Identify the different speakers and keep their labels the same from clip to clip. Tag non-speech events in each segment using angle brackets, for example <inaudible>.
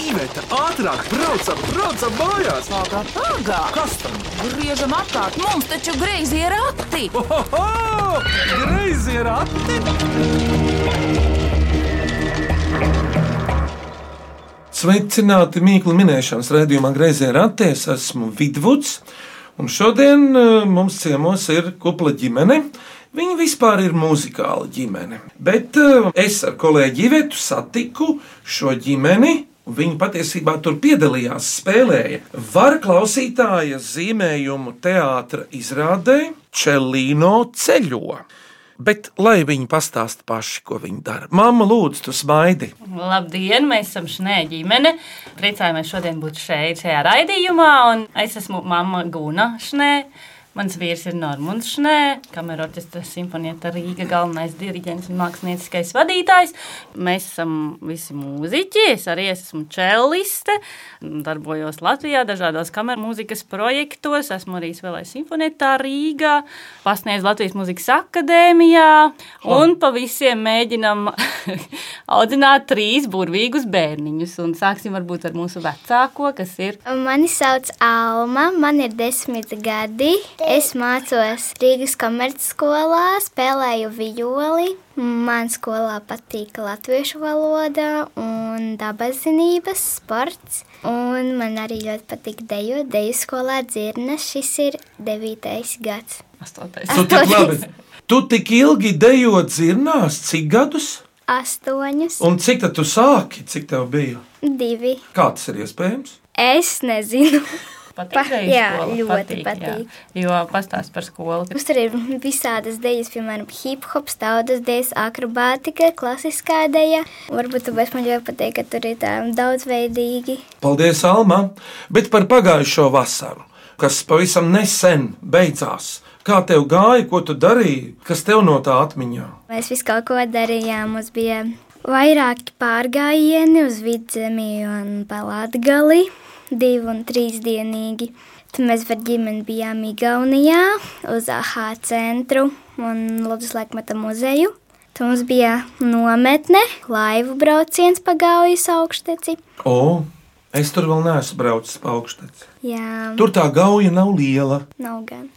Speaker 1: Iveta, ātrāk, braucam, braucam mājās!
Speaker 2: Pagā, pagā!
Speaker 1: Kas tam?
Speaker 2: Griežam apkārt, mums taču greizi ir rati!
Speaker 1: Ohoho! Greizi ir rati!
Speaker 3: Sveicināti Mīklu minēšanas raidījumā Greizē Ratē. Es esmu Vidvuds, un šodien eh, mums ciemos ir kupla ģimene. Viņa vispār ir muzikāla ģimene. Bet eh, es ar kolēģi Ivetu satiku šo ģimeni. un Viņa patiesībā tur piedalījās, spēlēja varu klausītāja zīmējumu teātra izrādē Čelīno ceļo. Bet lai viņi pastāsta paši, ko viņi dara. Māma, lūdzu, tu smaidi!
Speaker 4: Labdien, mēs esam Šnēja ģimene. Priecājamies šodien būt šeit, šajā raidījumā. Un es esmu mamma Guna Šnē. Mans vīrs ir Normons Šnē, kamera orķestra simfonieta Rīga, galvenais diriģents un mākslinieckais vadītājs. Mēs esam visi mūziķi, es arī esmu čelliste, darbojos Latvijā dažādos kameru mūzikas projektos, esmu arī spēlējis simfonietā Rīgā, pasniedzu Latvijas mūzikas akadēmijā un pa visiem mēģinam <laughs> audzināt trīs burvīgus bērniņus. Un sāksim varbūt ar mūsu vecāko, kas ir.
Speaker 5: Mani sauc Alma, man ir desmit gadi. Es mācos Rīgas komercskolā, spēlēju violi. Man skolā patīk latviešu valoda un dabas zinības, sports. Un man arī ļoti patīk deju. Deju skolā dzirna, šis ir devītais gads.
Speaker 3: <laughs>
Speaker 4: Astotais.
Speaker 3: Tu tik labi. Tu tik ilgi dejo dzirdinās, cik gadus?
Speaker 5: Astoņus,
Speaker 3: Un cik tad tu sāki? Cik tev bija?
Speaker 5: divi.
Speaker 3: Kā tas ir iespējams?
Speaker 5: Es nezinu. <laughs> Pa-
Speaker 4: Patīk,
Speaker 5: jā, ļoti patīk.
Speaker 4: Jā. Jo pastāst par skolu. ka
Speaker 5: Mums tur ir visādas idejas, piemēram, hip hop, tautas idejas, akrobātika, klasiskā ideja. Varbūt tāpēc man ļoti patīk, ka tur ir tā daudzveidīgi.
Speaker 3: Paldies, Alma! Bet par pagājušo vasaru, kas pavisam nesen beidzās. Kā tev gāja, ko tu darīji, kas tev no tā atmiņā?
Speaker 5: Mēs visu kaut ko darījām. Mums bija vairāki pārgājieni uz vidzemi un palātgali, divi un trīs dienīgi. Tad mēs ar ģimeni bijām Igaunijā uz AH centru un Latvijas laikmeta muzeju. Tur mums bija nometne, laivu brauciens pa Gaujas augšteci.
Speaker 3: O, es tur vēl neesmu braucis pa augšteci.
Speaker 5: Jā,
Speaker 3: Tur tā gauja nav liela.
Speaker 5: nav gan.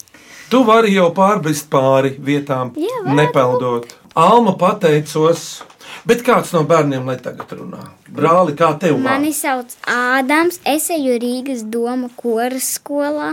Speaker 3: Tu vari jau pārbrist pāri vietām,
Speaker 5: Jā, varu.
Speaker 3: nepeldot. Alma pateicos, bet kāds no bērniem lai tagad runā? Brāli, kā tev? vārds?
Speaker 6: Mani sauc Ādams, es eju Rīgas doma koras skolā.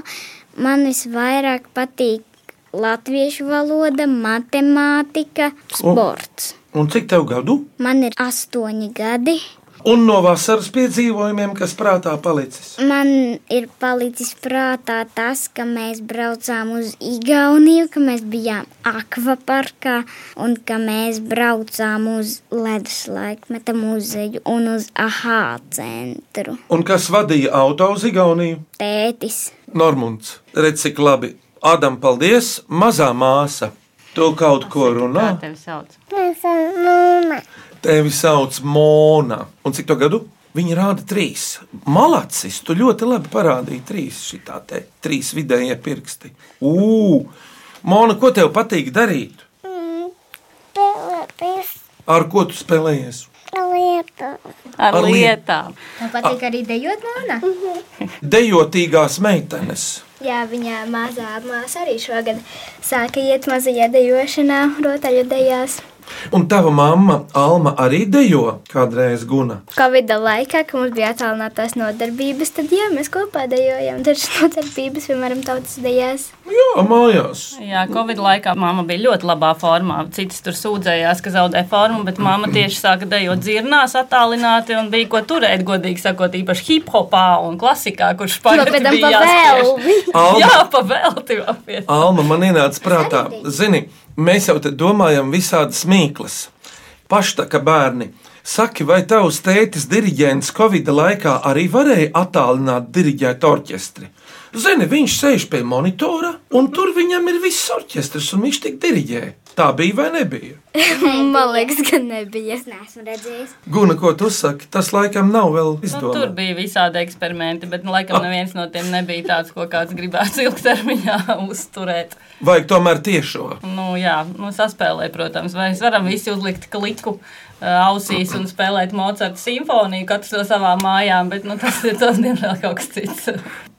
Speaker 6: Man visvairāk patīk latviešu valoda, matemātika, sports.
Speaker 3: Un cik tev gadu?
Speaker 6: Man ir astoņi gadi.
Speaker 3: Un no vasaras piedzīvojumiem, kas prātā palicis.
Speaker 6: Man ir palicis prātā tas, ka mēs braucām uz Igauniju, ka mēs bijām akvaparkā un ka mēs braucām uz Ledus laikmeta muzeju un uz AHA centru.
Speaker 3: Un kas vadīja auto uz Igauniju?
Speaker 6: Tētis.
Speaker 3: Normunds. Redz, cik labi. Adam, paldies! Mazā māsa. Tu kaut ko
Speaker 4: Kā
Speaker 3: runā?
Speaker 4: tevi sauc?
Speaker 3: Tevi sauc Mona. Un cik to gadu? Viņa rāda trīs. Malacis, tu ļoti labi parādīji trīs šitā te trīs vidējie pirksti. Ū! Mona, ko tev patīk darīt? Ar ko tu spēlējies?
Speaker 4: Ar,
Speaker 3: Ar
Speaker 4: ar
Speaker 3: liet-
Speaker 4: lietām.
Speaker 5: Man patīk arī dejot monēta.
Speaker 3: Dejotīgās meitenes.
Speaker 5: Jā, viņa mazā māsā arī šogad sāka iet mazajā dejošanā, rotaļu dejās.
Speaker 3: Un tava mamma, Alma, arī dejo kādreiz guna.
Speaker 5: Covid laikā, kad mums bija attālinātās nodarbības, tad jā, mēs kopā dejojām dažas nodarbības, piemēram, tautas dejās.
Speaker 3: Jā, mājās.
Speaker 4: Jā, Covid laikā mamma bija ļoti labā formā. Citas tur sūdzējās, ka zaudē formu, bet mamma tieši sāka dejot dzirnās, attālināti un bija ko turēt, godīgi sakot, īpaši hip hopā un klasikā, kurš pārspēja.
Speaker 5: Nopēdām pa velvi.
Speaker 6: <laughs>
Speaker 3: Alma,
Speaker 4: Jā, pavēlti vēl pie.
Speaker 3: Alma man ienāca prātā, zini, mēs jau te domājam visādas mīklas. Paštaka bērni, saki, vai tavs tētis diriģents Covid laikā arī varēja attālināt diriģēt orķestri? Zini, viņš sēž pie monitora, un tur viņam ir viss orķestris, un viņš tik diriģē. Tā bija vai nebija?
Speaker 5: Man liekas, ka nebija.
Speaker 6: Es neesmu redzējis.
Speaker 3: Guna, ko tu saki, tas laikam nav vēl
Speaker 4: Nu, tur
Speaker 3: izdomāts.
Speaker 4: bija visādi eksperimenti, bet nu, laikam neviens no tiem nebija tāds, ko kāds gribētu ilgtermiņā <laughs> uzturēt.
Speaker 3: Vajag tomēr tiešo.
Speaker 4: Nu, jā, nu, saspēlē, protams, vai mēs varam visi uzlikt kliku ā, ausīs un spēlēt Mocarta simfoniju, katrs no savām mājām, bet nu, tas ir tas, diemžēl, kaut kas cits.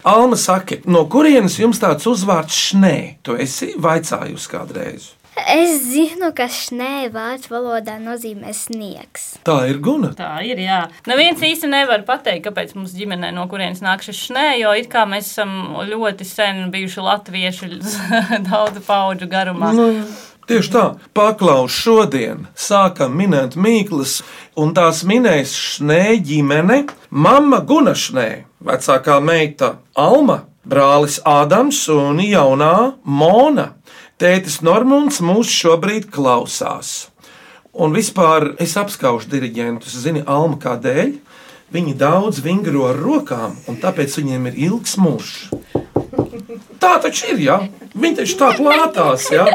Speaker 3: Alma saka, no kurienes jums tāds uzvārds šnē? Tu esi vaicājusi kādreiz.
Speaker 5: Es zinu, ka šnē vācu valodā nozīmē sniegs.
Speaker 3: Tā ir guna.
Speaker 4: <laughs> Tā ir, jā. Neviens īsti nevar pateikt, kāpēc mums ģimenē no kurienes nāk šis šnē, jo it kā mēs esam ļoti sen bijuši latvieši <laughs> daudzu pauģu garumā.
Speaker 3: Nu, tieši tā, paklaus šodien, sākam minēt mīklas, un tās minēs šnē ģimene, mama Guna šnē, vecākā meita Alma, brālis Ādams un jaunā Mona. Tētis Normons mūs šobrīd klausās. Un vispār es apskaužu diriģentus, zini, Alma kādēļ. Viņi daudz vingro ar rokām, un tāpēc viņiem ir ilgs mūžs. Tā taču ir, ja? Viņi taču tā plātās, ja?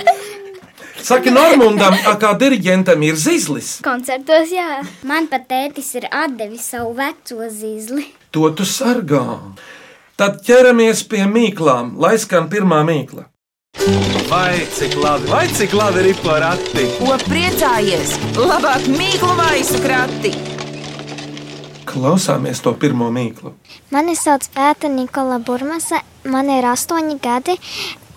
Speaker 3: Saki, Normundam, a, kā diriģentam ir zizlis.
Speaker 5: Koncertos, jā.
Speaker 6: Man pat tētis ir atdevis savu veco zīzli.
Speaker 3: To tu sargā. Tad ķeramies pie mīklām, lai skan pirmā mīkla.
Speaker 1: Vai cik labi, vai cik labi ir porati?
Speaker 2: Ko priecājies? Labāk mīklu maisu krati.
Speaker 3: Klausāmies to pirmo mīklu.
Speaker 7: Mani sauc Pēta Nikola Burmese, man ir astoņi gadi.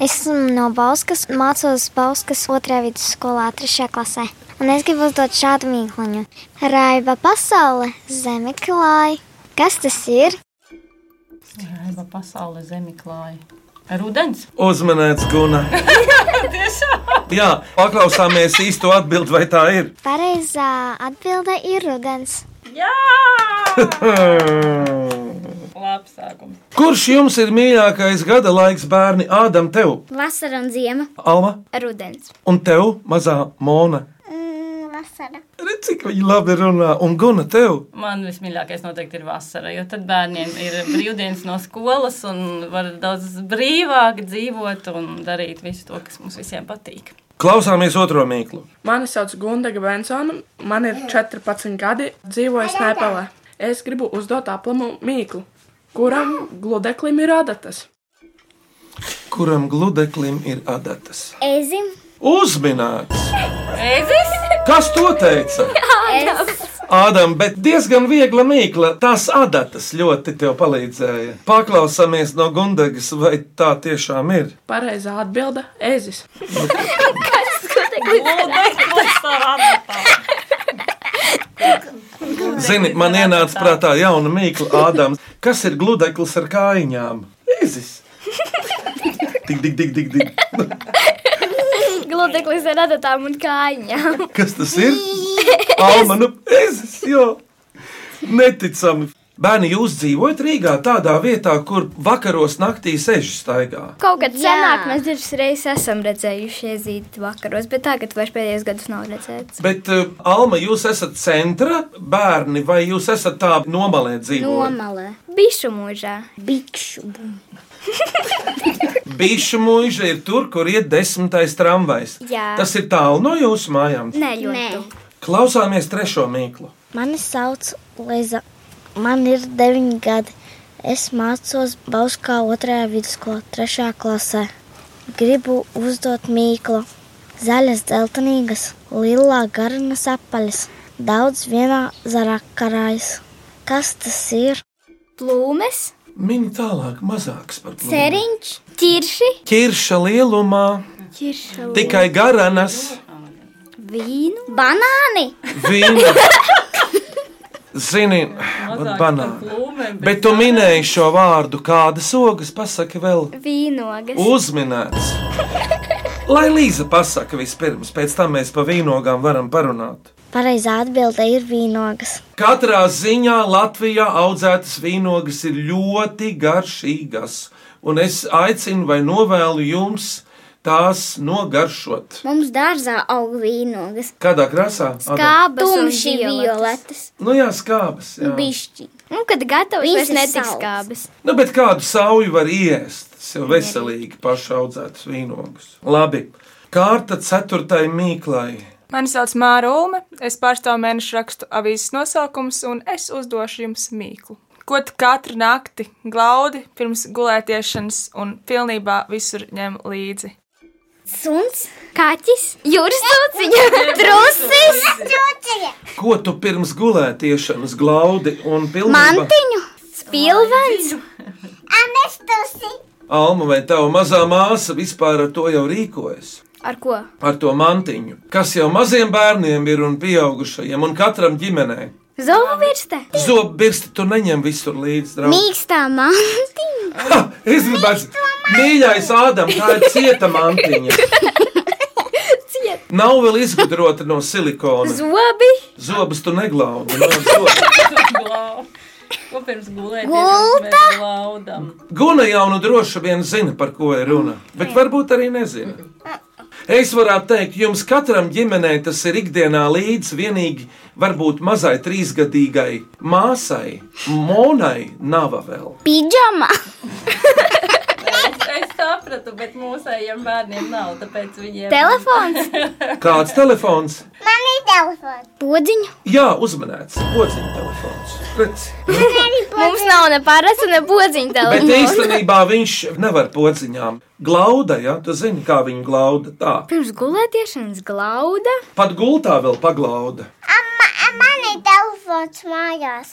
Speaker 7: Es esmu no Bauskas, mācos Bauskas otrajā vidusskolā, trešajā klasē. Un es gribu uzdot šādu mīkluņu. Raiba pasaule, zemi klāj. Kas tas ir?
Speaker 4: Raiba pasaule zemi klāja. Rudens?
Speaker 3: Uzmanēts, Guna. Jā, paklausāmies īsto atbildi, vai tā ir. <laughs>
Speaker 7: Pareizā atbilde ir rudens.
Speaker 4: <laughs> Jā!
Speaker 3: Hmm.
Speaker 4: Labs sākums.
Speaker 3: Kurš jums ir mīļākais gada laiks, bērni? Ādam, tev,
Speaker 6: Vasara un ziema.
Speaker 3: Alma,
Speaker 5: Rudens.
Speaker 3: un tev, mazā Mona.
Speaker 7: Vasara.
Speaker 3: Redz, cik viņi labi runā, un Guna, tev.
Speaker 4: Man vismīļākais noteikti ir vasara, jo tad bērniem ir brīvdienas no skolas un var daudz brīvāk dzīvot un darīt visu to, kas mums visiem patīk.
Speaker 3: Klausāmies otro mīklu.
Speaker 8: Mani sauc Gundaga Bensona, man ir 14 gadi, dzīvoju Snēpelē. Es gribu uzdot aplamu mīklu, kuram gludeklim ir adatas.
Speaker 3: Kuram gludeklim ir adatas?
Speaker 6: Ezim.
Speaker 3: Uzminēts!
Speaker 4: Ezis?
Speaker 3: Kas to teica? Ādam, bet diezgan viegla mīkla. Tās adatas ļoti tev palīdzēja. Paklausāmies no Gundagas, vai tā tiešām ir.
Speaker 8: Pareizā atbilde - ezis.
Speaker 4: Gludeklis ar adatām.
Speaker 3: Zini, man ienāca prātā jauna mīkla, Ādams. Kas ir gludeklis ar kājām? Izis! Tik, tik, tik, tik, tik.
Speaker 5: Gludeklis ar adatām un kājām.
Speaker 3: Kas tas ir? Alma, nu, ezis, jo. Neticami. Bērni, jūs dzīvojat Rīgā, tādā vietā, kur vakaros naktī seži staigā.
Speaker 5: Kaut kad
Speaker 6: Jā.
Speaker 5: senāk mēs dažas reizes esam redzējuši iezīt vakaros, bet tagad vairs pēdējos gadus nav redzēts.
Speaker 3: Bet, uh, Alma, jūs esat centra bērni, vai jūs esat tā nomalē dzīvojat?
Speaker 6: Nomalē.
Speaker 5: Bišu mūžā.
Speaker 6: Bikšu.
Speaker 3: Bišu mūža ir tur, kur iet desmitais tramvajs.
Speaker 5: Jā.
Speaker 3: Tas ir tālu no jūsu mājām.
Speaker 5: Nē, ļoti.
Speaker 6: Nē.
Speaker 5: tuvu.
Speaker 3: Klausāmies trešo mīklu.
Speaker 7: Mani sauc Liza. Man ir 9 gadi. Es mācos Bauskā 2. vidusskolā, 3. klasē. Gribu uzdot mīklu. Zaļas, dzeltenīgas, lilā garnas apaļas. Daudz vienā zarā karājas. Kas tas ir?
Speaker 5: Plūmes,
Speaker 3: Mini tālāk, mazāks par to.
Speaker 6: Ceriņš.
Speaker 5: ķirši,
Speaker 3: Kirša lielumā,
Speaker 5: ķirši,
Speaker 3: tikai garanas.
Speaker 5: vīnu,
Speaker 6: Banāni.
Speaker 3: Vīna. <laughs> Zini, vat banāna. Bet tu minēji šo vārdu, kādas ogas pasaki vēl?
Speaker 5: vīnogas.
Speaker 3: Uzminēts. Lai Līza pasaka vispirms, pēc tam mēs pa vīnogām varam parunāt.
Speaker 7: Pareizā atbilde ir vīnogas.
Speaker 3: Katrā ziņā Latvijā audzētas vīnogas ir ļoti garšīgas, un es aicinu vai novēlu jums tās nogaršot.
Speaker 6: Mums dārzā aug vīnogas.
Speaker 3: Kādā krāsā? Adam?
Speaker 5: Kāpēc
Speaker 6: Tumši violetas.
Speaker 3: Nu jā, skābas. Jā.
Speaker 6: Bišķi.
Speaker 5: Nu, kad gatavs,
Speaker 6: Viņas
Speaker 5: vairs
Speaker 6: ir
Speaker 5: netiks
Speaker 6: salds.
Speaker 5: kāpēc.
Speaker 3: Nu, bet kādu sauju var iest? Tas jau veselīgi pašaudzētas vīnogas. Labi. Kārta ceturtai mīklai.
Speaker 9: Mani sauc Māra Ulme, es pārstāvu mēnešu rakstu avīzes nosaukums, un es uzdošu jums mīklu. Ko tu katru nakti glaudi pirms gulētiešanas un pilnībā visur ņem līdzi?
Speaker 6: Suns,
Speaker 5: Kaķis, jūras <laughs> cūciņa,
Speaker 6: trusis,
Speaker 3: Ko tu pirms gulētiešanas glaudi un pilnībā?
Speaker 6: mantiņu,
Speaker 5: spilvens,
Speaker 6: amestusi,
Speaker 3: Alma vai tava mazā māsa vispār ar to jau rīkojas?
Speaker 5: ar ko?
Speaker 3: Ar to mantiņu, kas jau maziem bērniem ir un pieaugušajiem, un katram ģimenē.
Speaker 5: Zobu virste,
Speaker 3: Zobbirsti tu neņem visur līdzi, draugs.
Speaker 6: mīkstā mantiņa,
Speaker 3: Ha, Es gribētu, mīļais, Ādams, tā ir cieta mantiņa. Nav vēl izgudrota no silikona.
Speaker 5: zobi,
Speaker 3: Zobus tu neglaudi. nav zobu.
Speaker 4: Ko pirms gulēšanas mēs glaudam?
Speaker 3: Guna jau nu droši vien zina, par ko ir runa, bet varbūt arī nezina. Es varētu teikt, jums katram ģimenei tas ir ikdienā līdzi vienīgi varbūt mazai trīsgadīgai māsai, Monai, Nava vēl.
Speaker 6: pidžama,
Speaker 4: Es, es sapratu, bet mūsējiem bērniem nav, tāpēc viņiem
Speaker 5: telefons,
Speaker 3: Kāds telefons?
Speaker 6: man ir telefons, podziņa,
Speaker 3: Jā, uzmanēts, podziņa telefons. Redzi.
Speaker 5: mums nav ne parasta, ne podziņa
Speaker 3: Bet
Speaker 5: telefons.
Speaker 3: īstenībā viņš nevar podziņām. Glauda, ja tu zini, kā viņa glauda tā.
Speaker 5: Pirms gulētiešanas glauda,
Speaker 3: Pat gultā vēl paglauda.
Speaker 6: man ir telefons mājās,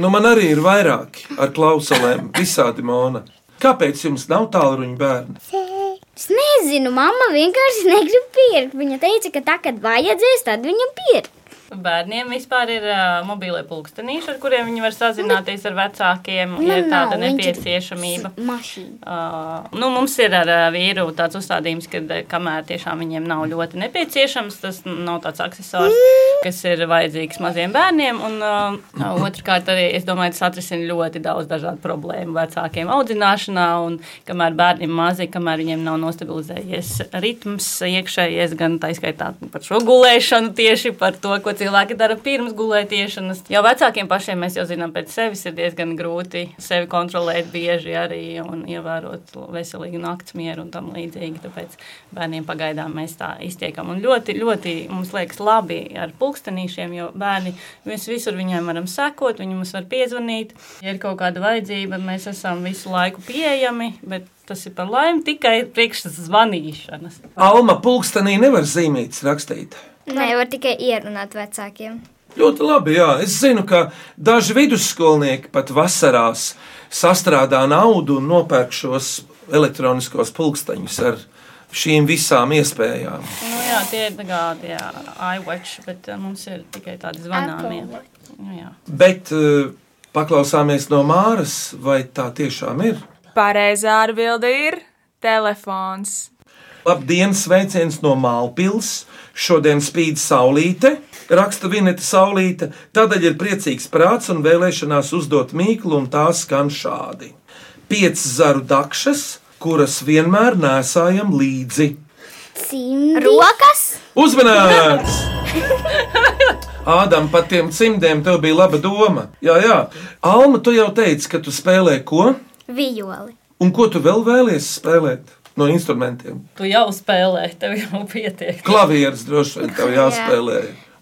Speaker 3: Nu, man arī ir vairāki ar klausulēm, visādi mona. Kāpēc jums nav tālruņa bērni?
Speaker 6: es nezinu, mamma vienkārši negrib pirkt, viņa teica, ka tā, kad vajadzēs, tad viņam pirkt,
Speaker 4: Bērniem vispār ir uh, mobīlie pulkstenīši, ar kuriem viņi var sazināties ar vecākiem, ja ir tāda nepieciešamība.
Speaker 6: mašīna.
Speaker 4: Uh, nu, mums ir ar uh, vīru tāds uzstādījums, ka uh, kamēr tiešām viņiem nav ļoti nepieciešams, tas nav tāds accessors, kas ir vajadzīgs maziem bērniem. Un, uh, otrkārt, arī es domāju, tas atrisina ļoti daudz dažādu problēmu vecākiem audzināšanā. Un, kamēr bērniem mazi, kamēr viņiem nav nostabilizējies ritms iekšējies, gan tā izskaitā par šo gulēšanu, tieši par to, ko cilvēki dara pirms gulētiešanas. Jau vecākiem pašiem mēs jau zinām, pēc sevis ir diezgan grūti sevi kontrolēt bieži arī un ievērot veselīgu nakts mieru un tam līdzīgi. Tāpēc bērniem pagaidām mēs tā iztiekam. Un ļoti, ļoti mums liekas labi ar pulkstenīšiem, jo bērni mēs visur viņiem varam sekot, viņi mums var piezvanīt. Ja ir kaut kāda vajadzība, mēs esam visu laiku pieejami, bet tas ir par laimi tikai priekš zvanīšanas.
Speaker 3: Alma pulkstenī nevar zīmītas rakstīt.
Speaker 5: nevar tikai ierunāt vecākiem. <laughs>
Speaker 3: Ļoti labi, jā. Es zinu, ka daži vidusskolnieki pat vasarās sastrādā naudu un nopērk šos elektroniskos pulksteņus ar šīm visām iespējām.
Speaker 4: Nu, jā, tie ir tādi iWatch, bet uh, mums ir tikai tādi zvanāmie. Nu, jā.
Speaker 3: Bet eh, paklausāmies no Māras, vai tā tiešām ir.
Speaker 9: Pareizā atbilde ir telefons.
Speaker 3: Labdien, sveiciens no Mālpils. Šodien spīd saulīte, raksta Vineta Saulīte. Tādēļ ir priecīgs prāts un vēlēšanās uzdot mīklu, un tā skan šādi. Pieci zaru dakšas, kuras vienmēr nesājam līdzi.
Speaker 6: Cimdi,
Speaker 5: Rokas,
Speaker 3: Uzmanīts! Ādam, pat tiem cimdiem tev bija laba doma. Jā, jā. Alma, tu jau teici, ka tu spēlē ko?
Speaker 5: vijoli,
Speaker 3: Un ko tu vēl vēlies spēlēt no instrumentiem?
Speaker 4: Tu jau spēlē, tev jau pietiek.
Speaker 3: Klavieris droši vien tev jāspēlē.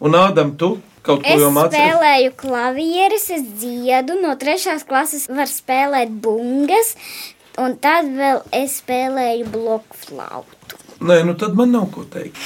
Speaker 3: Un Ādam, tu kaut ko
Speaker 6: Es
Speaker 3: jau mācījies?
Speaker 6: spēlēju klavierus, es dziedu, no trešās klases var spēlēt bungas, un tad vēl es spēlēju blokflautu.
Speaker 3: Nē, nu tad man nav ko teikt.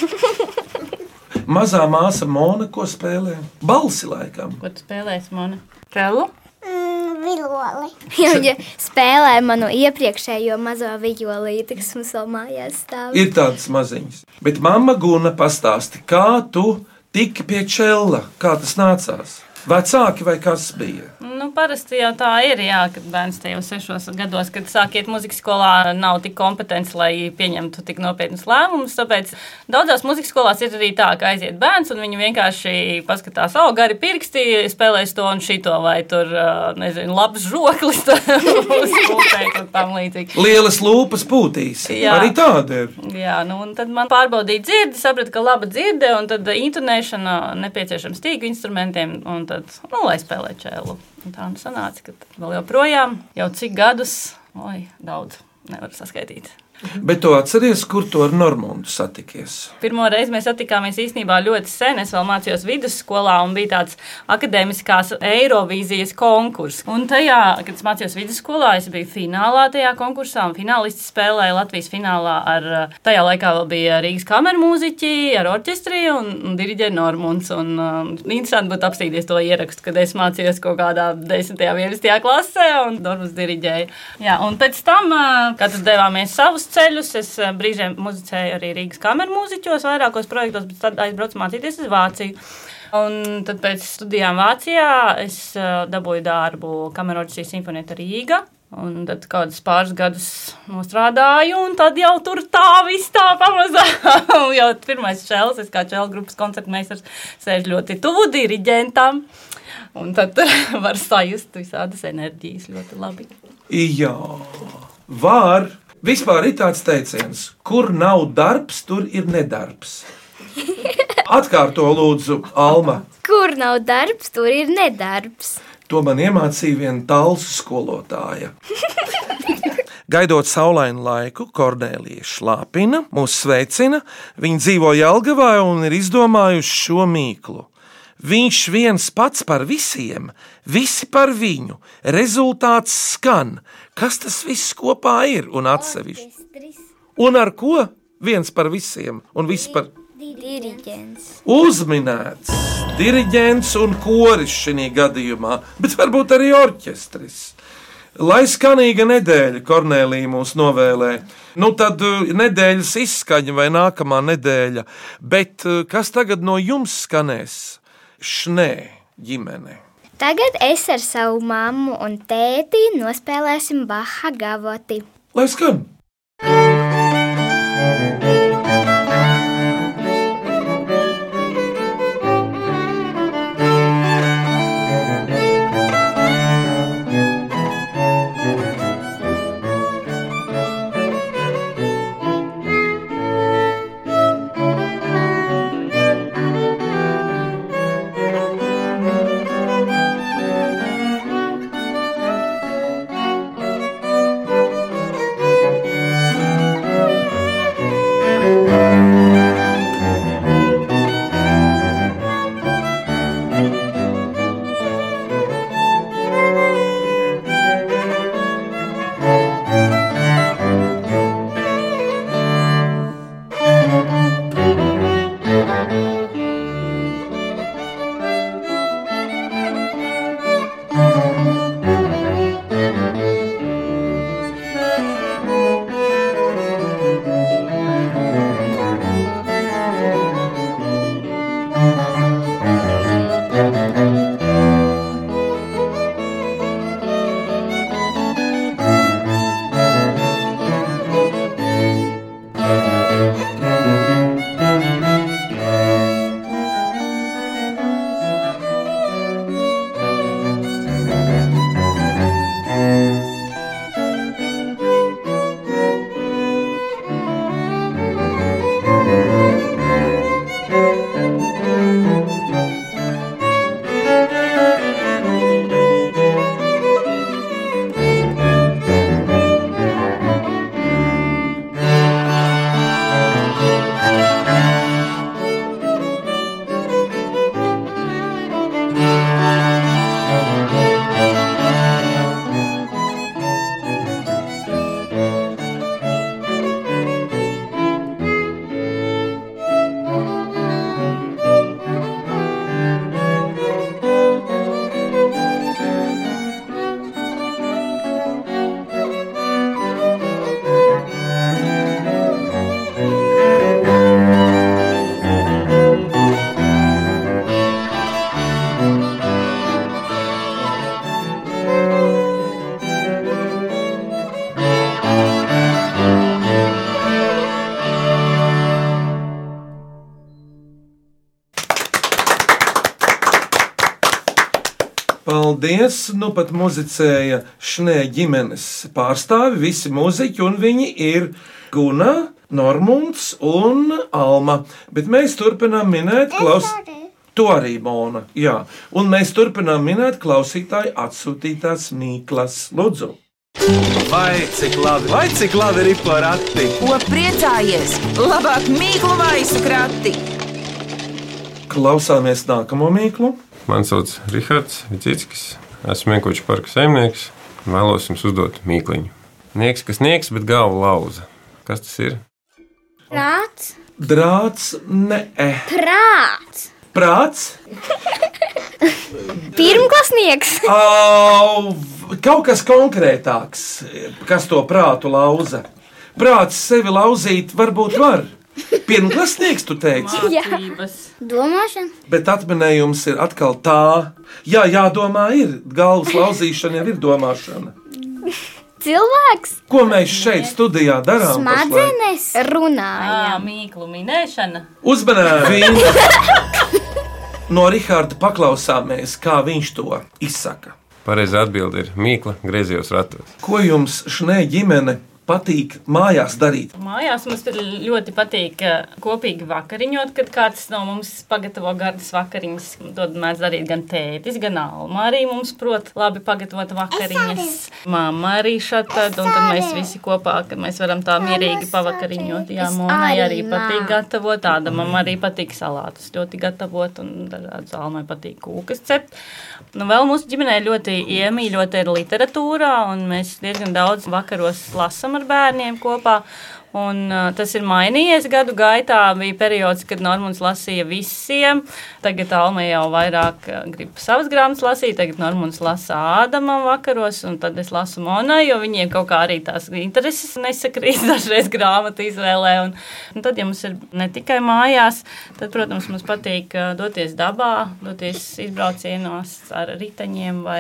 Speaker 3: Mazā māsa Mona, ko spēlē? Balsi laikam.
Speaker 4: Ko tu spēlēsi, Mona? Telu?
Speaker 6: Mm, viloli.
Speaker 5: jo viņa spēlē manu iepriekšējo mazo vijolīti, kas mums vēl mājās stāv.
Speaker 3: Ir tādas maziņas. Bet mamma Guna pastāsti, kā tu tiki pie čela, kā tas nācās? Vecāki vai kas bija?
Speaker 4: Nu, parasti jau tā ir, jā, kad bērns te jau sešos gados, kad sākiet muzikas skolā, nav tik kompetents, lai pieņemtu tik nopietnus lēmumus. Tāpēc daudzās muzikas skolās ir arī tā, ka aiziet bērns un viņi vienkārši paskatās, oh, gari pirksti, spēlēs to un šito, vai tur, ā, nezinu, labs žoklis, <laughs> būs kūtēt un tam līdzīgi.
Speaker 3: Lielas lūpas pūtīs. Jā.
Speaker 4: Jā.
Speaker 3: Arī tāda ir.
Speaker 4: Jā, nu, un tad man pārbaudīja dzirdi, sapratu, ka laba dzirde, un tad intonēšana nepieciešama stīgu instrumentiem, un tad, nu, lai spēlē čēlu. Un tā nu sanāca, ka vēl joprojām, jau cik gadus, oi, daudz nevaru saskaitīt.
Speaker 3: Bet tu atceries, kur tu ar Normundu satikies?
Speaker 4: Pirmo reizi mēs satikāmies īstenībā ļoti sen. Es vēl mācījos vidusskolā un bija tāds akadēmiskās Eirovīzijas konkurss. Un tajā, kad es mācījos vidusskolā, es biju finālā tajā konkursā un finālists spēlēja Latvijas finālā ar, eh, tajā laikā vēl bija Rīgas kameru mūziķi ar orķestri un, un diriģēja Normunds. Un, um, interesanti būtu apstīties to ierakstu, kad es mācījos kaut kādā 10. un 11. klasē un Normunds diriģēja. Jā, un pēc tam, eh, kad mēs devāmies savus ceļus, es eh, brīžiem muzicēju arī Rīgas kameru mūziķos vairākos projektos, bet tad aizbraucu mācīties uz Vāciju. Un tad pēc studijām Vācijā es eh, dabūju darbu Kameroģijas simfonieta Rīga. Un tad kādus pāris gadus strādāju, un tad jau tur tā viss tā pamazām. <laughs> jau pirmais čels, es kā čels grupas koncertmeistars, sēž ļoti tuvu diriģentam. Un tad <laughs> var sajust visādas enerģijas ļoti labi.
Speaker 3: Jā, var. Vispār ir tāds teiciens, kur nav darbs, tur ir nedarbs. Atkārto lūdzu, Alma.
Speaker 5: Kur nav darbs, tur ir nedarbs.
Speaker 3: To man iemācīja viena talsu skolotāja. Gaidot saulainu laiku, Kornelija šlāpina, mūs sveicina. Viņa dzīvo Jālgavā un ir izdomājusi šo mīklu. Viņš viens pats par visiem, visi par viņu. Rezultāts skan. Kas tas viss kopā ir un atsevišķi? Un ar ko? Viens par visiem un viss par visiem.
Speaker 5: Diriģents.
Speaker 3: Uzminēts diriģents un koris šajā gadījumā, bet varbūt arī orķestris. Lai skanīga nedēļa Kornelija mūs novēlē, nu tad uh, nedēļas izskaņa vai nākamā nedēļa, bet uh, kas tagad no jums skanēs? Šnē ģimene.
Speaker 5: Tagad es ar savu mammu un tēti nospēlēsim Baha Gavoti.
Speaker 3: Lai skan! Paldies! Nu, pat muzicēja šnē ģimenes pārstāvi, visi muzeķi, un viņi ir Guna, Normunds un Alma. Bet mēs turpinām minēt klausītāju. To arī Mona. Jā. Un mēs turpinām minēt klausītāju atsūtītās mīklas. Lūdzu!
Speaker 1: Vai cik labi, vai cik labi ir pa rati?
Speaker 2: Ko priecājies? Labāk mīklu maisu krati!
Speaker 3: Klausāmies nākamo mīklu.
Speaker 10: Mani sauc Rihards Vitsitskis. Esmu Mēnkoča parka saimnieks. Vēlos jums uzdot mīkliņu. Nieks, kas nieks, bet galva lauza. Kas tas ir?
Speaker 6: Prāts,
Speaker 3: Drāts, ne eh.
Speaker 6: prāts.
Speaker 3: prāts,
Speaker 6: Pirmklasnieks.
Speaker 3: au, kaut kas konkrētāks, kas to prātu lauza. Prāts sevi lauzīt varbūt var. Pirmklasnieks, tu teici,
Speaker 4: Mācības.
Speaker 6: Domāšana.
Speaker 3: bet atminējums ir atkal tā. Jā, jādomā, ir galvas lauzīšana, jau ir domāšana.
Speaker 6: Cilvēks.
Speaker 3: Ko mēs šeit studijā darām? pašlaik?
Speaker 6: Smadzenes. Runājot.
Speaker 4: Ā, Mīklu minēšana.
Speaker 3: Uzmanīgi! No Rahāda paklausāmies, kā viņš to izsaka.
Speaker 10: Pareizā atbilde ir mīkla griezījos ratos.
Speaker 3: Ko jums šai ģimene patīk mājās darīt?
Speaker 4: Mājās mums tur ļoti patīk eh, kopīgi vakariņot, kad kāds no mums pagatavo gardas vakariņas. To mēs darām gan tētis, gan alma. Arī mums prot labi pagatavot vakariņas. Māma arī šāda, un tad mēs visi kopā, kad mēs varam tā mierīgi pavakariņot. Jā,
Speaker 6: Es
Speaker 4: monai
Speaker 6: arī,
Speaker 4: arī
Speaker 6: mā.
Speaker 4: patīk gatavot, tāda man arī patīk salātus ļoti gatavot, un dažādas almai patīk kūkas cept. Nu, vēl mūsu ģimenē ļoti iemīļota ir literatūra, un mēs diezgan daudz vakaros lasām ar bērniem kopā. Un, uh, tas ir mainījies gadu gaitā. Bija periods, kad Normons lasīja visiem. Tagad Alma jau vairāk uh, grib savas grāmatas lasīt. Tagad Normons lasa Ādamam vakaros, un tad es lasu Monai, jo viņiem kaut kā arī tās intereses nesakrīt <laughs> dažreiz grāmatu izvēlē. Un, un tad, ja mums ir ne tikai mājās, tad, protams, mums patīk uh, doties dabā, doties izbraucienos ar riteņiem vai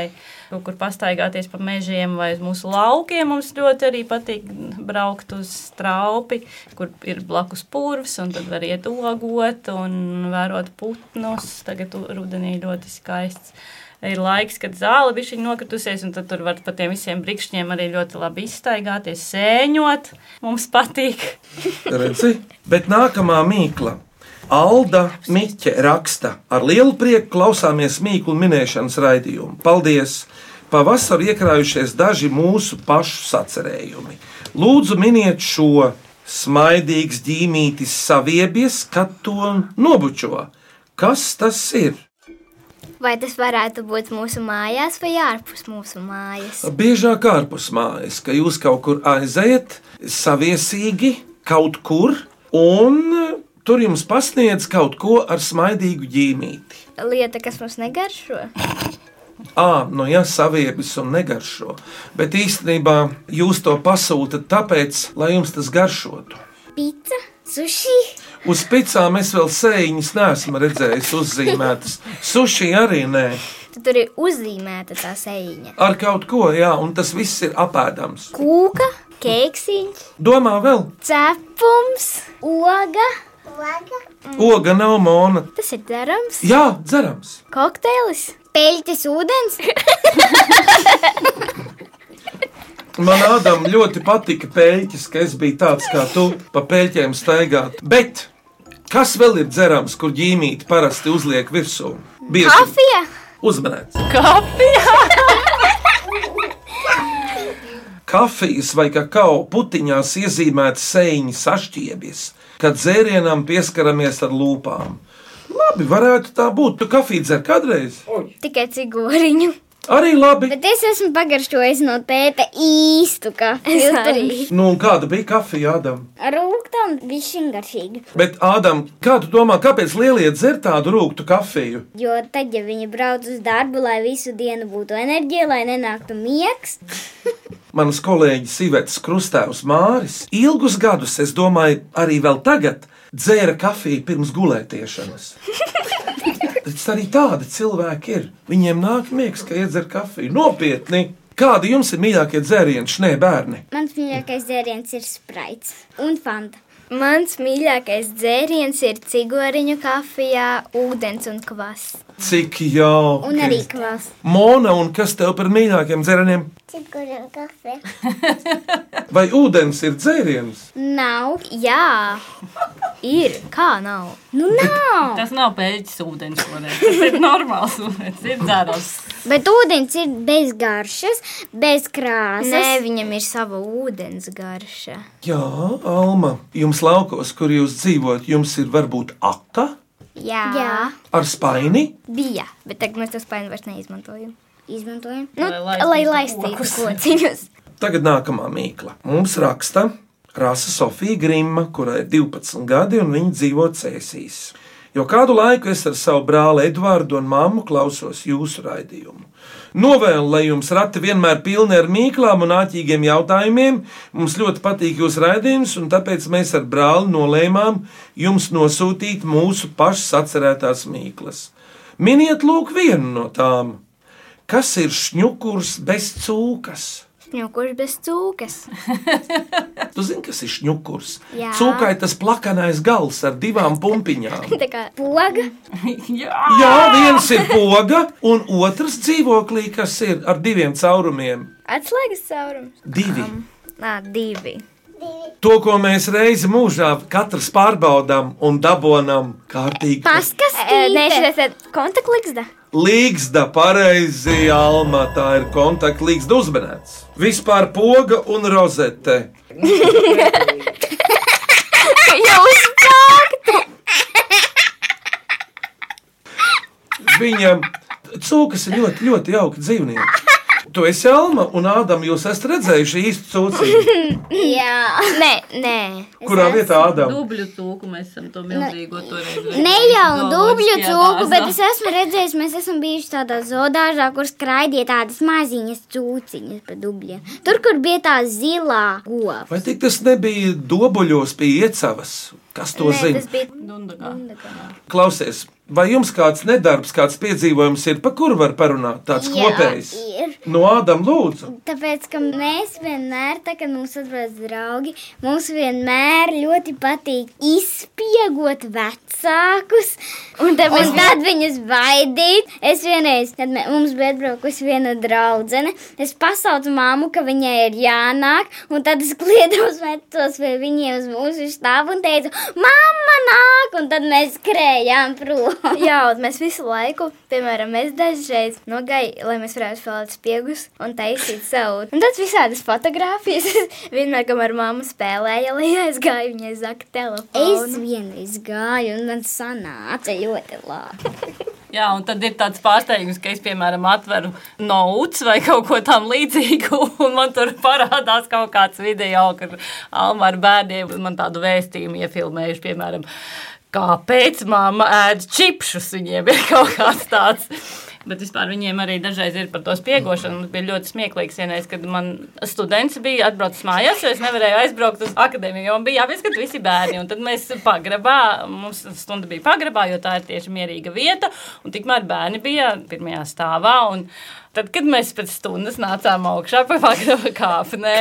Speaker 4: kaut kur pastaigāties pa mežiem vai uz mūsu laukiem. Mums ļoti arī patīk braukt uz straupi, kur ir blakus purvs, un tad var iet ogot un vērot putnus. Tagad u- rudenī ļoti skaists. Ir laiks, kad zāle bija nokritusies, un tad tur var pat tiem visiem brīkšņiem arī ļoti labi izstaigāties, sēņot. Mums patīk.
Speaker 3: Redzi? Bet nākamā mīkla. Alda Miķe raksta, ar lielu prieku klausāmies mīklu minēšanas raidījumu. Paldies! Pavasarī iekrājušies daži mūsu pašu sacerējumi. Lūdzu, miniet šo smaidīgs ģīmītis saviebies, kad to nobučo. Kas tas ir?
Speaker 5: Vai tas varētu būt mūsu mājās vai ārpus mūsu mājas?
Speaker 3: Biežāk ārpus mājas, ka jūs kaut kur aiziet, saviesīgi kaut kur, un tur jums pasniedz kaut ko ar smaidīgu ģīmīti.
Speaker 5: Lieta, kas mums negaršo.
Speaker 3: Ah, nu jā, saviebis un negaršo. Bet īstenībā jūs to pasūtat tāpēc, lai jums tas garšotu.
Speaker 6: Pizza. Sushi.
Speaker 3: Uz picām es vēl sēņas neesmu redzējis uzzīmētas. Suši arī nē,
Speaker 5: Tad tur ir uzzīmēta tā sēņa.
Speaker 3: ar kaut ko, jā, un tas viss ir apēdams.
Speaker 5: Kūka, kēksiņš,
Speaker 3: Domā vēl,
Speaker 5: cepums,
Speaker 6: Oga.
Speaker 3: oga nav mona.
Speaker 5: tas ir darams,
Speaker 3: Jā, dzerams.
Speaker 5: kokteilis.
Speaker 6: Peļķis ūdens.
Speaker 3: Man Ādam ļoti patika pēļķis, ka es biju tāds kā tu, pa pēļķiem staigāt. Bet kas vēl ir dzerams, kur ģīmīti parasti uzliek virsū? Bieži
Speaker 6: Kafija.
Speaker 3: uzmanēts.
Speaker 4: Kāpēc?
Speaker 3: Kafijas vai kakao putiņās iezīmēta sēņa sašķiebjas, kad dzērienam pieskaramies ar lūpām. Labi, varētu tā būt. Tu kafiju dzer kādreiz?
Speaker 5: Tikai cigoriņu.
Speaker 3: Arī labi.
Speaker 6: Bet es esmu pagaršojis no tēta īstu kafiju.
Speaker 5: <laughs> Es arī.
Speaker 3: Nu, un kāda bija kafija Ādam?
Speaker 6: Ar rūkām višķi garšīgi.
Speaker 3: Bet Ādam, kā tu domā, kāpēc lielie dzer tādu rūktu kafiju?
Speaker 6: Jo tad, ja viņi brauc uz darbu, lai visu dienu būtu enerģija, lai nenāktu miegs,
Speaker 3: Mans kolēģis Ivets Krustēvs Māris ilgus gadus, es domāju, arī vēl tagad dzēra kafiju pirms
Speaker 6: <laughs>
Speaker 3: gulētiešanas. Tas arī tādi cilvēki ir. Viņiem nāk miegs, ka iedzer kafiju. Nopietni! Kādi jums ir mīļākie dzērieni, šie bērni?
Speaker 6: mans mīļākais dzēriens ir spraits un fanta.
Speaker 5: Mans mīļākais dzēriens ir cigoriņu kafijā, ūdens un kvass.
Speaker 3: Cik jauki.
Speaker 6: Un arī kvass.
Speaker 3: Mona, un kas tev par mīļākiem dzērieniem?
Speaker 6: Cipuriem <laughs> kafē.
Speaker 3: <laughs> Vai ūdens ir dzēriens?
Speaker 6: Nav.
Speaker 5: Jā, ir. Kā nav?
Speaker 6: Nu, nav.
Speaker 4: Tas nav pēļķis ūdens šodien. Tas ir normāls ūdens, ir dzērams.
Speaker 6: Bet ūdens ir bez garšas, bez krāsas.
Speaker 5: Nē, viņam ir sava ūdens garša.
Speaker 3: Jā, Alma, jums laukos, kur jūs dzīvojat, jums ir varbūt aka
Speaker 5: Jā,
Speaker 6: Jā.
Speaker 3: ar spaini.
Speaker 5: bija. Bet tagad mēs to spaini vairs neizmantojam.
Speaker 6: Izmantojam.
Speaker 5: Nu,
Speaker 4: Lai
Speaker 5: lai
Speaker 4: laistītu
Speaker 5: laistītu
Speaker 4: kokus.
Speaker 5: kociņus.
Speaker 3: Tagad nākamā mīkla. Mums raksta Rasa Sofija Grima, kurai ir 12 gadi un viņa dzīvo cēsīs. Jo kādu laiku es ar savu brāli Edvardu un māmu klausos jūsu raidījumu. Novēlu, lai jums rati vienmēr pilni ar mīklām un āķīgiem jautājumiem. Mums ļoti patīk jūsu raidījums, un tāpēc mēs ar brāli nolēmām jums nosūtīt mūsu pašas atcerētās mīklas. Miniet lūk vienu no tām. Kas ir šņukurs bez cūkas?
Speaker 5: Šņukurš Nu, bez cūkas.
Speaker 3: Tu zini, kas ir šņukurs?
Speaker 5: Jā.
Speaker 3: Cūkai tas plakanais gals ar divām
Speaker 5: <laughs>
Speaker 3: pumpiņām.
Speaker 5: Tā kā
Speaker 6: Poga.
Speaker 4: Jā,
Speaker 3: Jā, viens ir poga, un otrs dzīvoklī, kas ir ar diviem caurumiem.
Speaker 5: atslēgas caurums.
Speaker 3: Divi.
Speaker 5: Nā, divi.
Speaker 3: To, ko mēs reizi mūžā katrs pārbaudām un dabonam kārtīgi.
Speaker 5: E, Nē,
Speaker 6: Paskastīte.
Speaker 5: šis ir kontaktligzda.
Speaker 3: Līgzda, pareizi, Alma, tā ir kontaktlīgzda uzmanēts. Vispār poga un rozete.
Speaker 5: Jūs sākat!
Speaker 3: Viņam cūkas ir ļoti, ļoti jauki dzīvnieki. Tu esi Alma un Ādams, jūs esat redzējuši īstu cūciņu.
Speaker 6: Jā.
Speaker 5: Nē, nē.
Speaker 3: Kurā vietā Ādams?
Speaker 4: dubļu cūku mēs esam to milzīgo toreiz.
Speaker 6: Ne jau dubļu
Speaker 4: zooloģiskajā
Speaker 6: cūku, bet
Speaker 4: dārzā.
Speaker 6: es esmu redzējis, mēs esam bijuši tādā zoodārzā, kur skraidīja tādas maziņas cūciņas pa dubļiem. Tur, kur bija tā zilā gola.
Speaker 3: Vai tik tas nebija dobuļos pie iecavas? Kas to
Speaker 5: Nē,
Speaker 3: zina?
Speaker 5: tas bija
Speaker 4: Dundagā.
Speaker 3: Klausies, vai jums kāds nedarbs, kāds piedzīvojums ir, pa kuru var parunāt? Tāds
Speaker 6: Jā,
Speaker 3: kopējs.
Speaker 6: ir.
Speaker 3: No Ādama lūdzu.
Speaker 6: Tāpēc, ka mēs vienmēr, tā, kad mums atbrauc draugi, mums vienmēr ļoti patīk izspiegot vecākus, un tāpēc tad viņus baidīt. Es vienreiz, kad mē, mums bija atbraukusi viena draudzene, es pasaucu māmu, ka viņai ir jānāk, un tad es kliedzu uz vecos vai viņiem uz mūsu štābu un teicu, mamma nāk, un tad mēs skrējām prom.
Speaker 5: <laughs> Jā, un mēs visu laiku, piemēram, es dažreiz nogaidu, lai mēs varētu spēlēt spiegus un taisīt savu. Un tad visādas fotogrāfijas. <laughs> Es Vienmēr, kamēr mamma spēlēja, lai aizgāju, viņai zaka
Speaker 6: Es
Speaker 5: telefonu.
Speaker 6: vienreiz gāju, un man sanāca ļoti labi.
Speaker 4: Jā, un tad ir tāds pārsteigums, ka es, piemēram, atveru notes vai kaut ko tam līdzīgu, <laughs> un man tur parādās kaut kāds video, kur Alma ar bērniem man tādu vēstījumu iefilmējuši, piemēram, kāpēc mamma ēd čipšus, viņiem ir <laughs> kaut kāds tāds. Bet vispār viņiem arī dažreiz ir par to spiegošanu. Mums bija ļoti smieklīgs vienreiz, kad man students bija atbraucis mājās, jo es nevarēju aizbraukt uz akadēmiju, jo man bija jāpieskat visi bērni. Un tad mēs pagrabā, mums stunda bija pagrabā, jo tā ir tieši mierīga vieta, un tikmēr bērni bija pirmajā stāvā. Un tad, kad mēs pēc stundas nācām augšā pa pagraba kāpnē,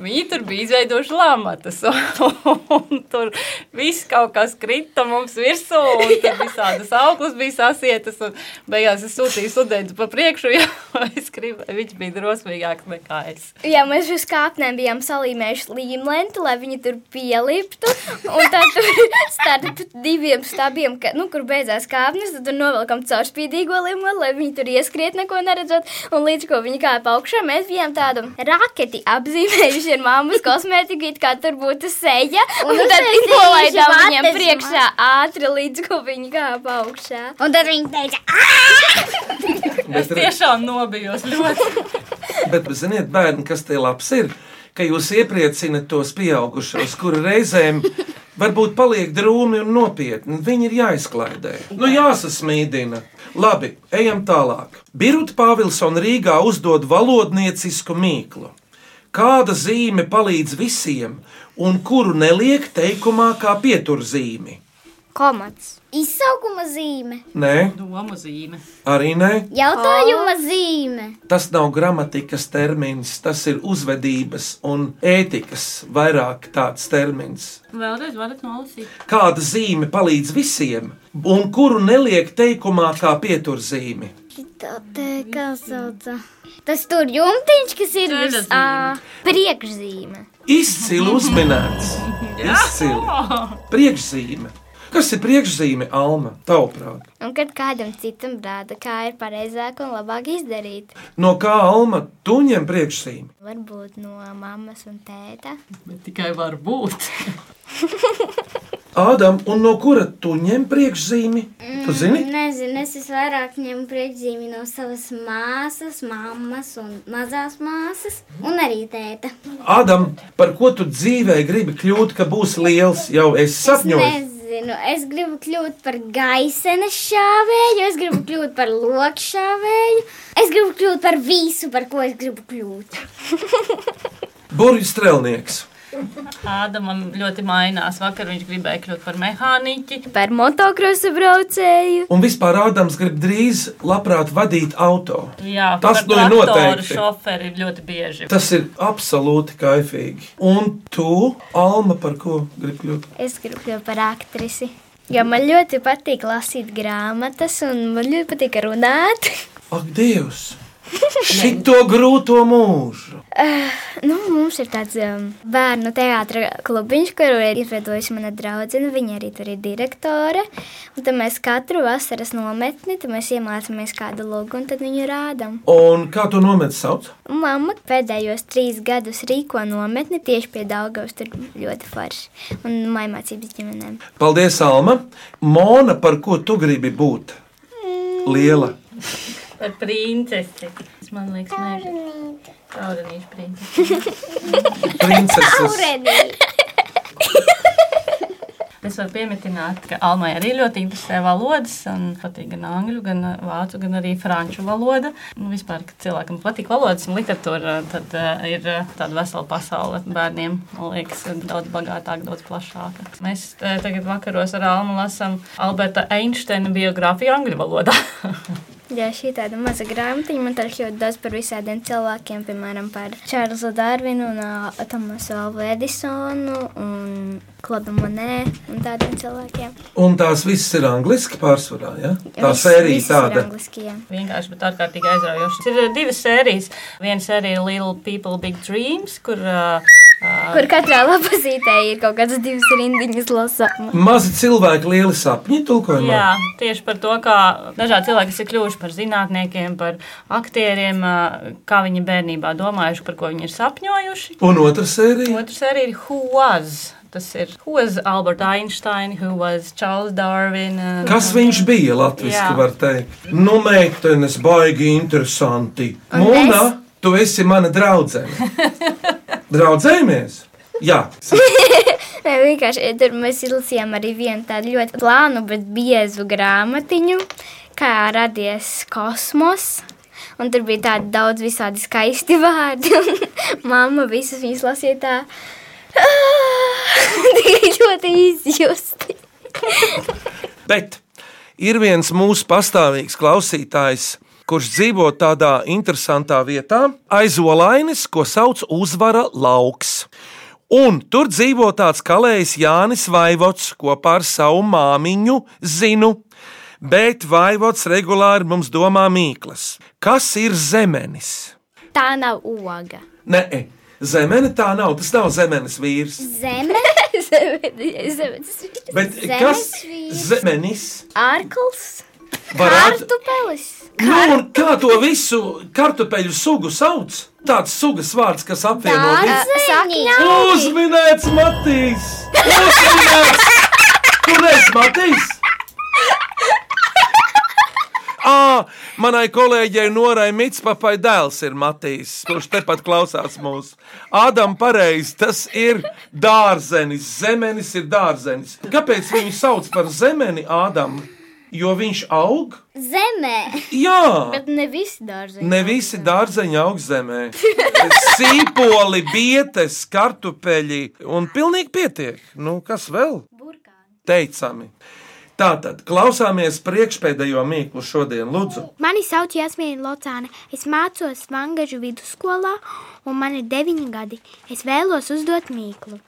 Speaker 4: viņi tur bija izveidojuši lamatas. <laughs> Un tur viss kaut kas krita mums virsū, un tur visādas auklas bija sasietas. Un beigās es sūtīju studentu pa priekšu, <laughs> jo es gribēju, viņš bija drosmīgāks nekā es.
Speaker 5: Jā, mēs uz kāpnēm bijām salīmējuši līmlenti, lai viņi tur pieliptu. Un tad tur <laughs> starp diviem stabiem, ka, nu, kur beidzās kāpnes, tad tur novelkam caurspīdīgo līmlenti, lai viņi tur ieskriet neko neredzot. Un līdz ko viņi kāpa augšā, mēs bijām tādu raketi apzīmējuši ar mammas kosmētiku, it kā tur būtu seja. Un,
Speaker 6: nu
Speaker 5: un tad
Speaker 6: uztaisījuši
Speaker 5: viņi nolaidām viņiem
Speaker 6: vates
Speaker 5: priekšā ātri, līdz ko viņi kāpa augšā.
Speaker 6: Un tad viņi teica, ah,
Speaker 4: Es tiešām nobijos <laughs> ļoti.
Speaker 3: Bet, ziniet, bērni, kas tie labs ir, ka jūs iepriecinat tos pieaugušos, kuri reizēm varbūt paliek drūmi un nopietni. Viņi ir jāizklaidē, nu, jāsasmīdina. Labi, ejam tālāk. Birta Pāvilsona Rīgā uzdod valodniecisku mīklu. Kāda zīme palīdz visiem, un kuru neliek teikumā kā pieturzīmi?
Speaker 6: komats. Izsaukuma zīme.
Speaker 3: Nē,
Speaker 4: Domu zīme.
Speaker 3: arī nē.
Speaker 6: Jautājuma zīme.
Speaker 3: Tas nav gramatikas termins, tas ir uzvedības un ētikas vairāk tāds termins.
Speaker 4: Vēlreiz varat nolasīt. <laughs>
Speaker 3: Kāda zīme palīdz visiem, un kuru neliek teikumā kā pieturzīmi?
Speaker 6: Tā te kā sauc. Tas tur jumtiņš, kas ir
Speaker 4: Ceļa
Speaker 6: virs ā, priekšzīme.
Speaker 3: Izcili uzminēts. Izcili. Priekšzīme. Kas ir priekšzīme, Alma? Tavuprāt,
Speaker 6: Un kad kādam citam rāda, kā ir pareizāk un labāk izdarīt,
Speaker 3: no kā Alma tu ņem priekšzīmi?
Speaker 6: varbūt no mammas un tēta.
Speaker 4: Bet tikai var būt.
Speaker 3: Ādam, un no kura tu ņem priekšzīmi? Tu
Speaker 6: Mm.
Speaker 3: zini?
Speaker 6: Nezinu, es vis vairāk ņemu priekšzīmi no savas māsas, mammas un mazās māsas, un arī tēta.
Speaker 3: Ādam, par ko tu dzīvē gribi kļūt, ka būs liels, jau es sapņoju.
Speaker 6: Nezinu, es gribu kļūt par gaisena šāvēju, es gribu kļūt par lokšāvēju, es gribu kļūt par visu, par ko es gribu kļūt. <laughs>
Speaker 3: Burbuļs strēlnieks.
Speaker 4: Ādamam ļoti mainās. Vakar viņš gribēja kļūt par mehāniķi.
Speaker 5: Par motokrosa braucēju.
Speaker 3: Un vispār Ādams grib drīz labprāt vadīt auto.
Speaker 4: Jā,
Speaker 3: Tas
Speaker 4: par
Speaker 3: nu ir
Speaker 4: traktoru
Speaker 3: noteikti.
Speaker 4: Šoferi ir ļoti bieži.
Speaker 3: Tas ir absolūti kaifīgi. Un tu, Alma, par ko gribi kļūt?
Speaker 5: Es gribu kļūt par aktrisi. Jo man ļoti patīk lasīt grāmatas, un man ļoti patīk runāt. <laughs>
Speaker 3: Ak, Dievs! Šito grūto mūžu!
Speaker 5: Nu, mums ir tāds um, bērnu teātris klubiņš, kuru ir izveidojusi mana draudzene. Viņa arī tur ir direktore. Un Tad mēs katru vasaras nometni tad mēs iemācāmies kādu lūgu un tad viņu rādām.
Speaker 3: Un kā tu nomet sauc?
Speaker 5: Mama pēdējos trīs gadus rīko nometni tieši pie Daugavas. Tur ļoti forši un maimācības ģimenēm.
Speaker 3: Paldies, Alma! Mona, par ko tu gribi būt? Liela!
Speaker 4: Par princesi. Tas man liekas, mēģinājums. Taurinīša princese.
Speaker 3: Princeses!
Speaker 4: Es varu pieminēt, ka Almai arī ļoti interesē valodas. Un patīk gan angļu, gan ā, vācu, gan arī franču valoda. Nu, vispār, ka cilvēkam patīk valodas un literatūra, tad uh, ir ā, tāda vesela pasaule bērniem. Man liekas, daudz bagātāka, daudz plašāka. Mēs uh, tagad vakaros ar Almu lasām Alberta Einsteina biogrāfiju angļu valodā. <laughs>
Speaker 5: Jā, šī tāda maza grāmatiņa man tur ļoti daudz par visādiem cilvēkiem, piemēram, par Čārlzu Darvinu, un, ā, Tomasu Alvu Edisonu un Klaudu Monē un tādiem cilvēkiem.
Speaker 3: Un tās visas ir angliski pārsvarā, ja? Tā
Speaker 5: Viss-
Speaker 3: sērija
Speaker 5: viss ir
Speaker 3: tāda.
Speaker 5: angliski, jā.
Speaker 4: Vienkārši, bet ārkārtīgi aizraujoši. Ir uh, divas sērijas. Viena sērija ir Little People Big Dreams, kur uh, uh,
Speaker 5: Kur katrā lapazītē ir kaut kādas divas rindiņas lasām.
Speaker 3: Mazi cilvēki, lieli sapņi tulkojumā.
Speaker 4: Jā, tieši par to, kā dažādi cilvēki kas ir kļuvuši par zinātniekiem, par aktieriem, ā, kā viņi bērnībā domājuši, par ko viņi ir sapņojuši.
Speaker 3: Un otra sērija.
Speaker 4: Otrs arī ir Who was? Tas ir Who was Albert Einstein, Who was Charles Darwin. eh. un-
Speaker 3: Kas viņš bija latviešu,
Speaker 4: Jā.
Speaker 3: var teikt? Nu, meitenes, baigi interesanti. Mona, tu esi mana draudzene. Draudzējamies? Jā,
Speaker 5: Nē, vienkārši ja tur mēs izlasījām arī vienu tādu ļoti plānu, bet biezu grāmatiņu, kā radies kosmos. Un tur bija tādi daudz visādi skaisti <laughs> vārdi. un Mamma visas viņas lasīja tā, <laughs> tikai ļoti izjusti.
Speaker 3: bet ir viens mūsu pastāvīgs klausītājs, kurš dzīvo tādā interesantā vietā, aizolainis, ko sauc Uzvara lauks. Un tur dzīvo tāds kalējs Jānis Vaivots kopā ar savu māmiņu Zinu. Bet Vaivots regulāri mums domā mīklas. Kas ir zemenis?
Speaker 5: Tā nav oga.
Speaker 3: Nē, e, zemene tā nav. Tas nav zemenes vīrs.
Speaker 5: <laughs>
Speaker 6: Zeme,
Speaker 3: Bet
Speaker 6: Zemes
Speaker 3: kas
Speaker 6: vīrs.
Speaker 3: zemenis
Speaker 5: Ārkls,
Speaker 3: varētu?
Speaker 6: kartupelis,
Speaker 3: Nu, un kā to visu kartupeļu sugu sauc? Tāds sugas vārds, kas apvieno visu.
Speaker 6: sakņa,
Speaker 3: Uzminēts Matīs! Uzminēts! Kur es Matīs? À, manai kolēģei Norai Mitspapai dēls ir Matīs, kurš tepat klausās mūsu. Ādam pareizi, tas ir dārzenis, zemenis ir dārzenis. Kāpēc viņu sauc par zemeni Ādam? Jo viņš aug?
Speaker 6: zemē.
Speaker 3: Jā!
Speaker 5: bet ne visi dārzi.
Speaker 3: Ne visi dārzeņi aug zemē. Sīpoli, bietes, kartupeļi un pilnīgi pietiek. Nu, kas vēl? Burkāni. Teicami. Tātad klausāmies priekšpēdējo mīklu šodien, Lūdzu.
Speaker 11: Mani sauc Jasmīna Locāne. Es mācos Vangažu vidusskolā, un man ir deviņi gadi. Es vēlos uzdot mīklu.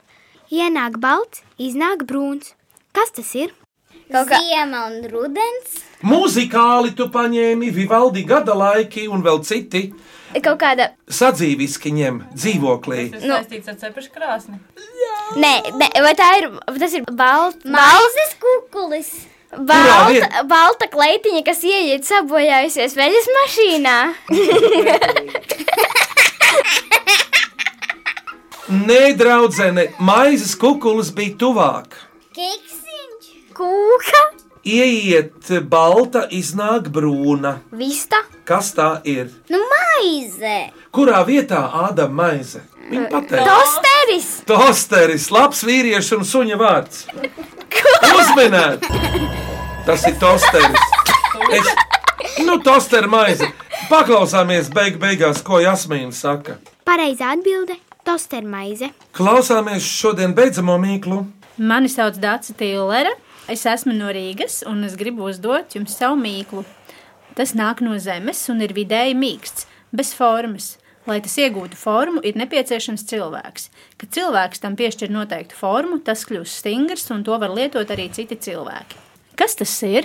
Speaker 11: Ienāk balts, iznāk brūns. Kas tas ir?
Speaker 6: Kaut kā ziema un rudens.
Speaker 3: Mūzikāli tu paņēmi, Vivaldi gada laiki un vēl citi
Speaker 12: Kaut kāda.
Speaker 3: sadzīviski ņem dzīvoklī.
Speaker 4: Tas nu. saistīts ar cepušu krāsni.
Speaker 12: Nē, nē, vai tā ir? Tas ir balts.
Speaker 6: Balzis kukulis.
Speaker 3: Kurā
Speaker 12: Balta,
Speaker 3: viet-
Speaker 12: balta kleitiņa, kas ieiet sabojājusies veļas mašīnā.
Speaker 3: Nē, draudzene, maizes kukulis bija tuvāk.
Speaker 6: Kiksiņš.
Speaker 12: Kūka,
Speaker 3: Ieiet balta, iznāk brūna.
Speaker 12: vista,
Speaker 3: Kas tā ir?
Speaker 6: Nu, maize.
Speaker 3: Kurā vietā āda maize? Viņa pateica.
Speaker 12: tosteris.
Speaker 3: Tosteris, labs vīriešu un suņa vārds. Uzminēt! Tas ir tosteris. Es... Nu, tosteris maize. Paklausāmies beig beigās, ko Jasmīna saka.
Speaker 11: Pareizā atbilde - tostermaize.
Speaker 3: Klausāmies šodien beidzamo mīklu.
Speaker 13: Mani sauc Dārsa Tīlere. Es esmu no Rīgas un es gribu uzdot jums savu mīklu. Tas nāk no zemes un ir vidēji mīksts, bez formas. Lai tas iegūtu formu, ir nepieciešams cilvēks. Kad cilvēks tam piešķir noteiktu formu, tas kļūst stingrs un to var lietot arī citi cilvēki. Kas tas ir?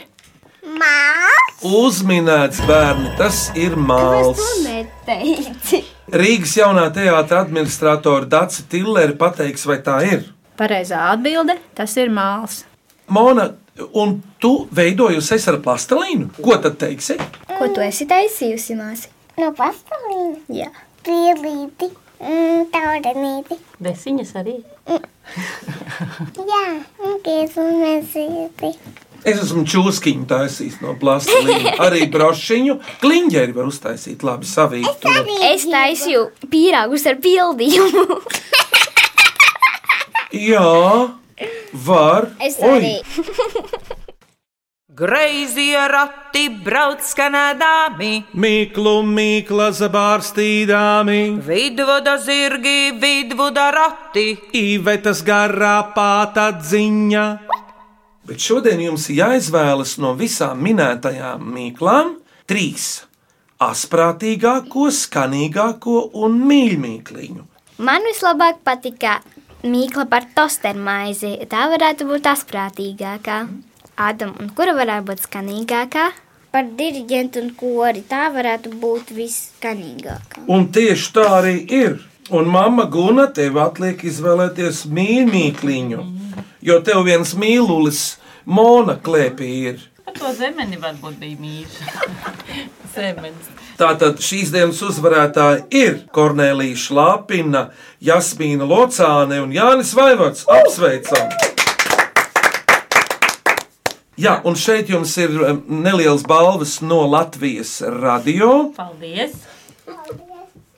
Speaker 6: Māls.
Speaker 3: Uzminēts bērni, tas ir māls.
Speaker 6: neteici.
Speaker 3: Rīgas jaunā teātra administratora Dācis Tillere pateiks, vai tā ir.
Speaker 13: Pareizā atbilde - tas ir māls.
Speaker 3: Mona, un tu veidojusi es ar plastelīnu? Ko tad teiksi?
Speaker 12: Ko tu esi taisījusi, māsa?
Speaker 6: No pastāvīna.
Speaker 12: Jā.
Speaker 6: Pielīti. Mm, Taurinīti.
Speaker 4: Besiņas arī.
Speaker 6: Jā, un kiezumezīti.
Speaker 3: Es esmu čūskiņu taisījis no plastelīna. Arī brošiņu kliņģeri var uztaisīt labi savītu.
Speaker 12: Es taisīju pīrāgus ar pildījumu.
Speaker 3: Jā, var. Oi,
Speaker 2: Greizie rati brauc skanēdami,
Speaker 1: Mīklu, mīkla zabārstīdāmi,
Speaker 2: vidvuda zirgi, vidvuda rati.
Speaker 1: īvetas garā pāta dziņa.
Speaker 3: bet šodien jums ir jāizvēlas no visām minētajām mīklām trīs - asprātīgāko, skanīgāko un mīļākliņu.
Speaker 5: <laughs> Man vislabāk patika mīkla par tostermaizi. Tā varētu būt asprātīgākā. Ādam, un kura varētu būt skanīgākā?
Speaker 6: Par diriģentu un kori tā varētu būt viskanīgākā.
Speaker 3: Un tieši tā arī ir. Un mamma Guna tev atliek izvēlēties mīļākliņu, jo tev viens mīlulis, Mona klēpī ir.
Speaker 4: Ar to zemeni varbūt bija mīļš. <laughs> Zemenis.
Speaker 3: Tātad šīs dienas uzvarētāji ir Kornelija Šlāpina, Jasmīna Locāne un Jānis Vaivots. Apsveicam! Jā, un šeit jums ir em, neliels balvas no Latvijas radio.
Speaker 4: Paldies!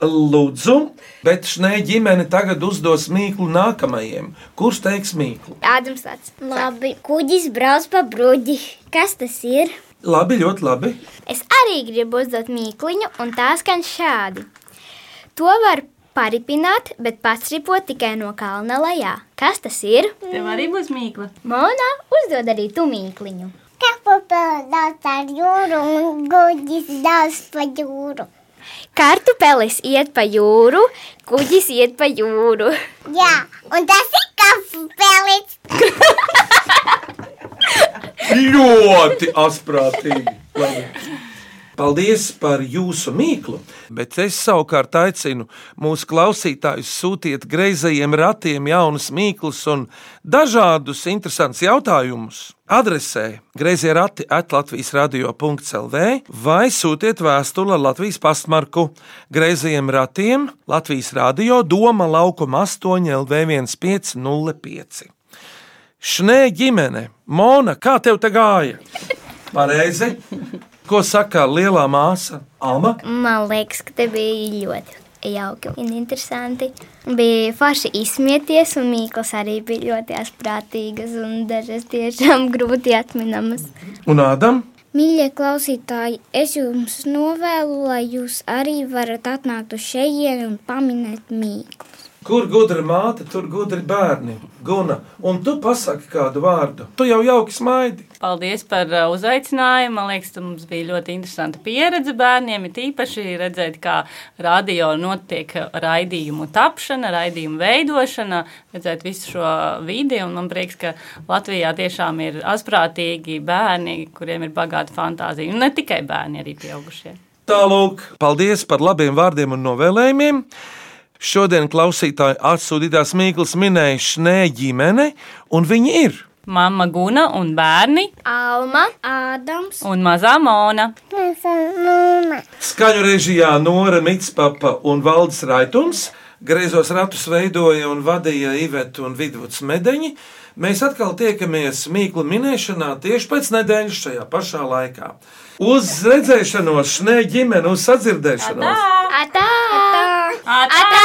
Speaker 3: Lūdzu, bet šai ģimene tagad uzdos mīklu nākamajiem. Kurš teiks mīklu?
Speaker 6: Ādams tāds. Labi, kuģis brauc pa bruģi. Kas tas ir?
Speaker 3: Labi, ļoti labi.
Speaker 12: Es arī gribu uzdot mīkluņu, un tā skan šādi. To var paripināt, bet pastripot tikai no kalna lejā. Kas tas ir?
Speaker 4: Tev arī būs mīkla.
Speaker 12: Mona uzdod arī tu mīkluņu.
Speaker 6: Kapupēlis daudz ar jūru un kuģis daudz pa jūru.
Speaker 12: Kartupelis iet pa jūru, kuģis iet pa jūru.
Speaker 6: Jā, un tas ir kapupēlis.
Speaker 3: Ļoti asprātīgi. Labi. Paldies par jūsu mīklu. Bet es savukārt aicinu mūsu klausītājus sūtiet greizajiem ratiem jaunas mīklas un dažādus interesantus jautājumus. Adresē greizie rati atlatvijas radio.clv vai sūtiet vēstuli ar Latvijas pastmarku greizajiem ratiem Latvijas radio Doma laukuma 8 LV1505. Šnē ģimene, Mona, kā tev tā gāja? Pareizi. Ko saka lielā māsa Alma?
Speaker 5: Man liekas, ka te bija ļoti jauki un interesanti. Bija forši izsmieties, un mīklas arī bija ļoti asprātīgas un dažas tiešām grūti atminamas.
Speaker 3: Un Ādam?
Speaker 6: Mīļie klausītāji, es jums novēlu, lai jūs arī varat atnākt uz šejienu un paminēt mīklu.
Speaker 3: Kur gudra māte, tur gudri bērni, Guna. Un tu pasaki kādu vārdu. Tu jau jauki smaidi.
Speaker 4: Paldies par uh, uzaicinājumu. Man liekas, tas mums bija ļoti interesanta pieredze bērniem. Ir īpaši redzēt, kā radio notiek uh, raidījumu tapšana, raidījumu veidošana, redzēt visu šo vidi. Un man prieks, ka Latvijā tiešām ir asprātīgi bērni, kuriem ir bagāta fantāzija. Un ne tikai bērni, arī pieaugušie.
Speaker 3: Tālāk, paldies par labiem vārdiem un novēlējumiem. Šodien klausītāji atsūtītās Mīklas minēja Šnēja ģimene, un viņi ir.
Speaker 4: Mama Guna un bērni
Speaker 12: Alma,
Speaker 6: Ādams,
Speaker 4: un mazā Mona.
Speaker 3: Skaņu režijā Nora Mitspapa un Valdis Raitums. Griezos ratus veidoja un vadīja Iveta un Vidvuds Medeņi. Mēs atkal tiekamies Mīklu minēšanā tieši pēc nedēļas šajā pašā laikā. Uz redzēšanos, ne ģimene, uz sadzirdēšanos!
Speaker 12: Atā! Atā! Atā!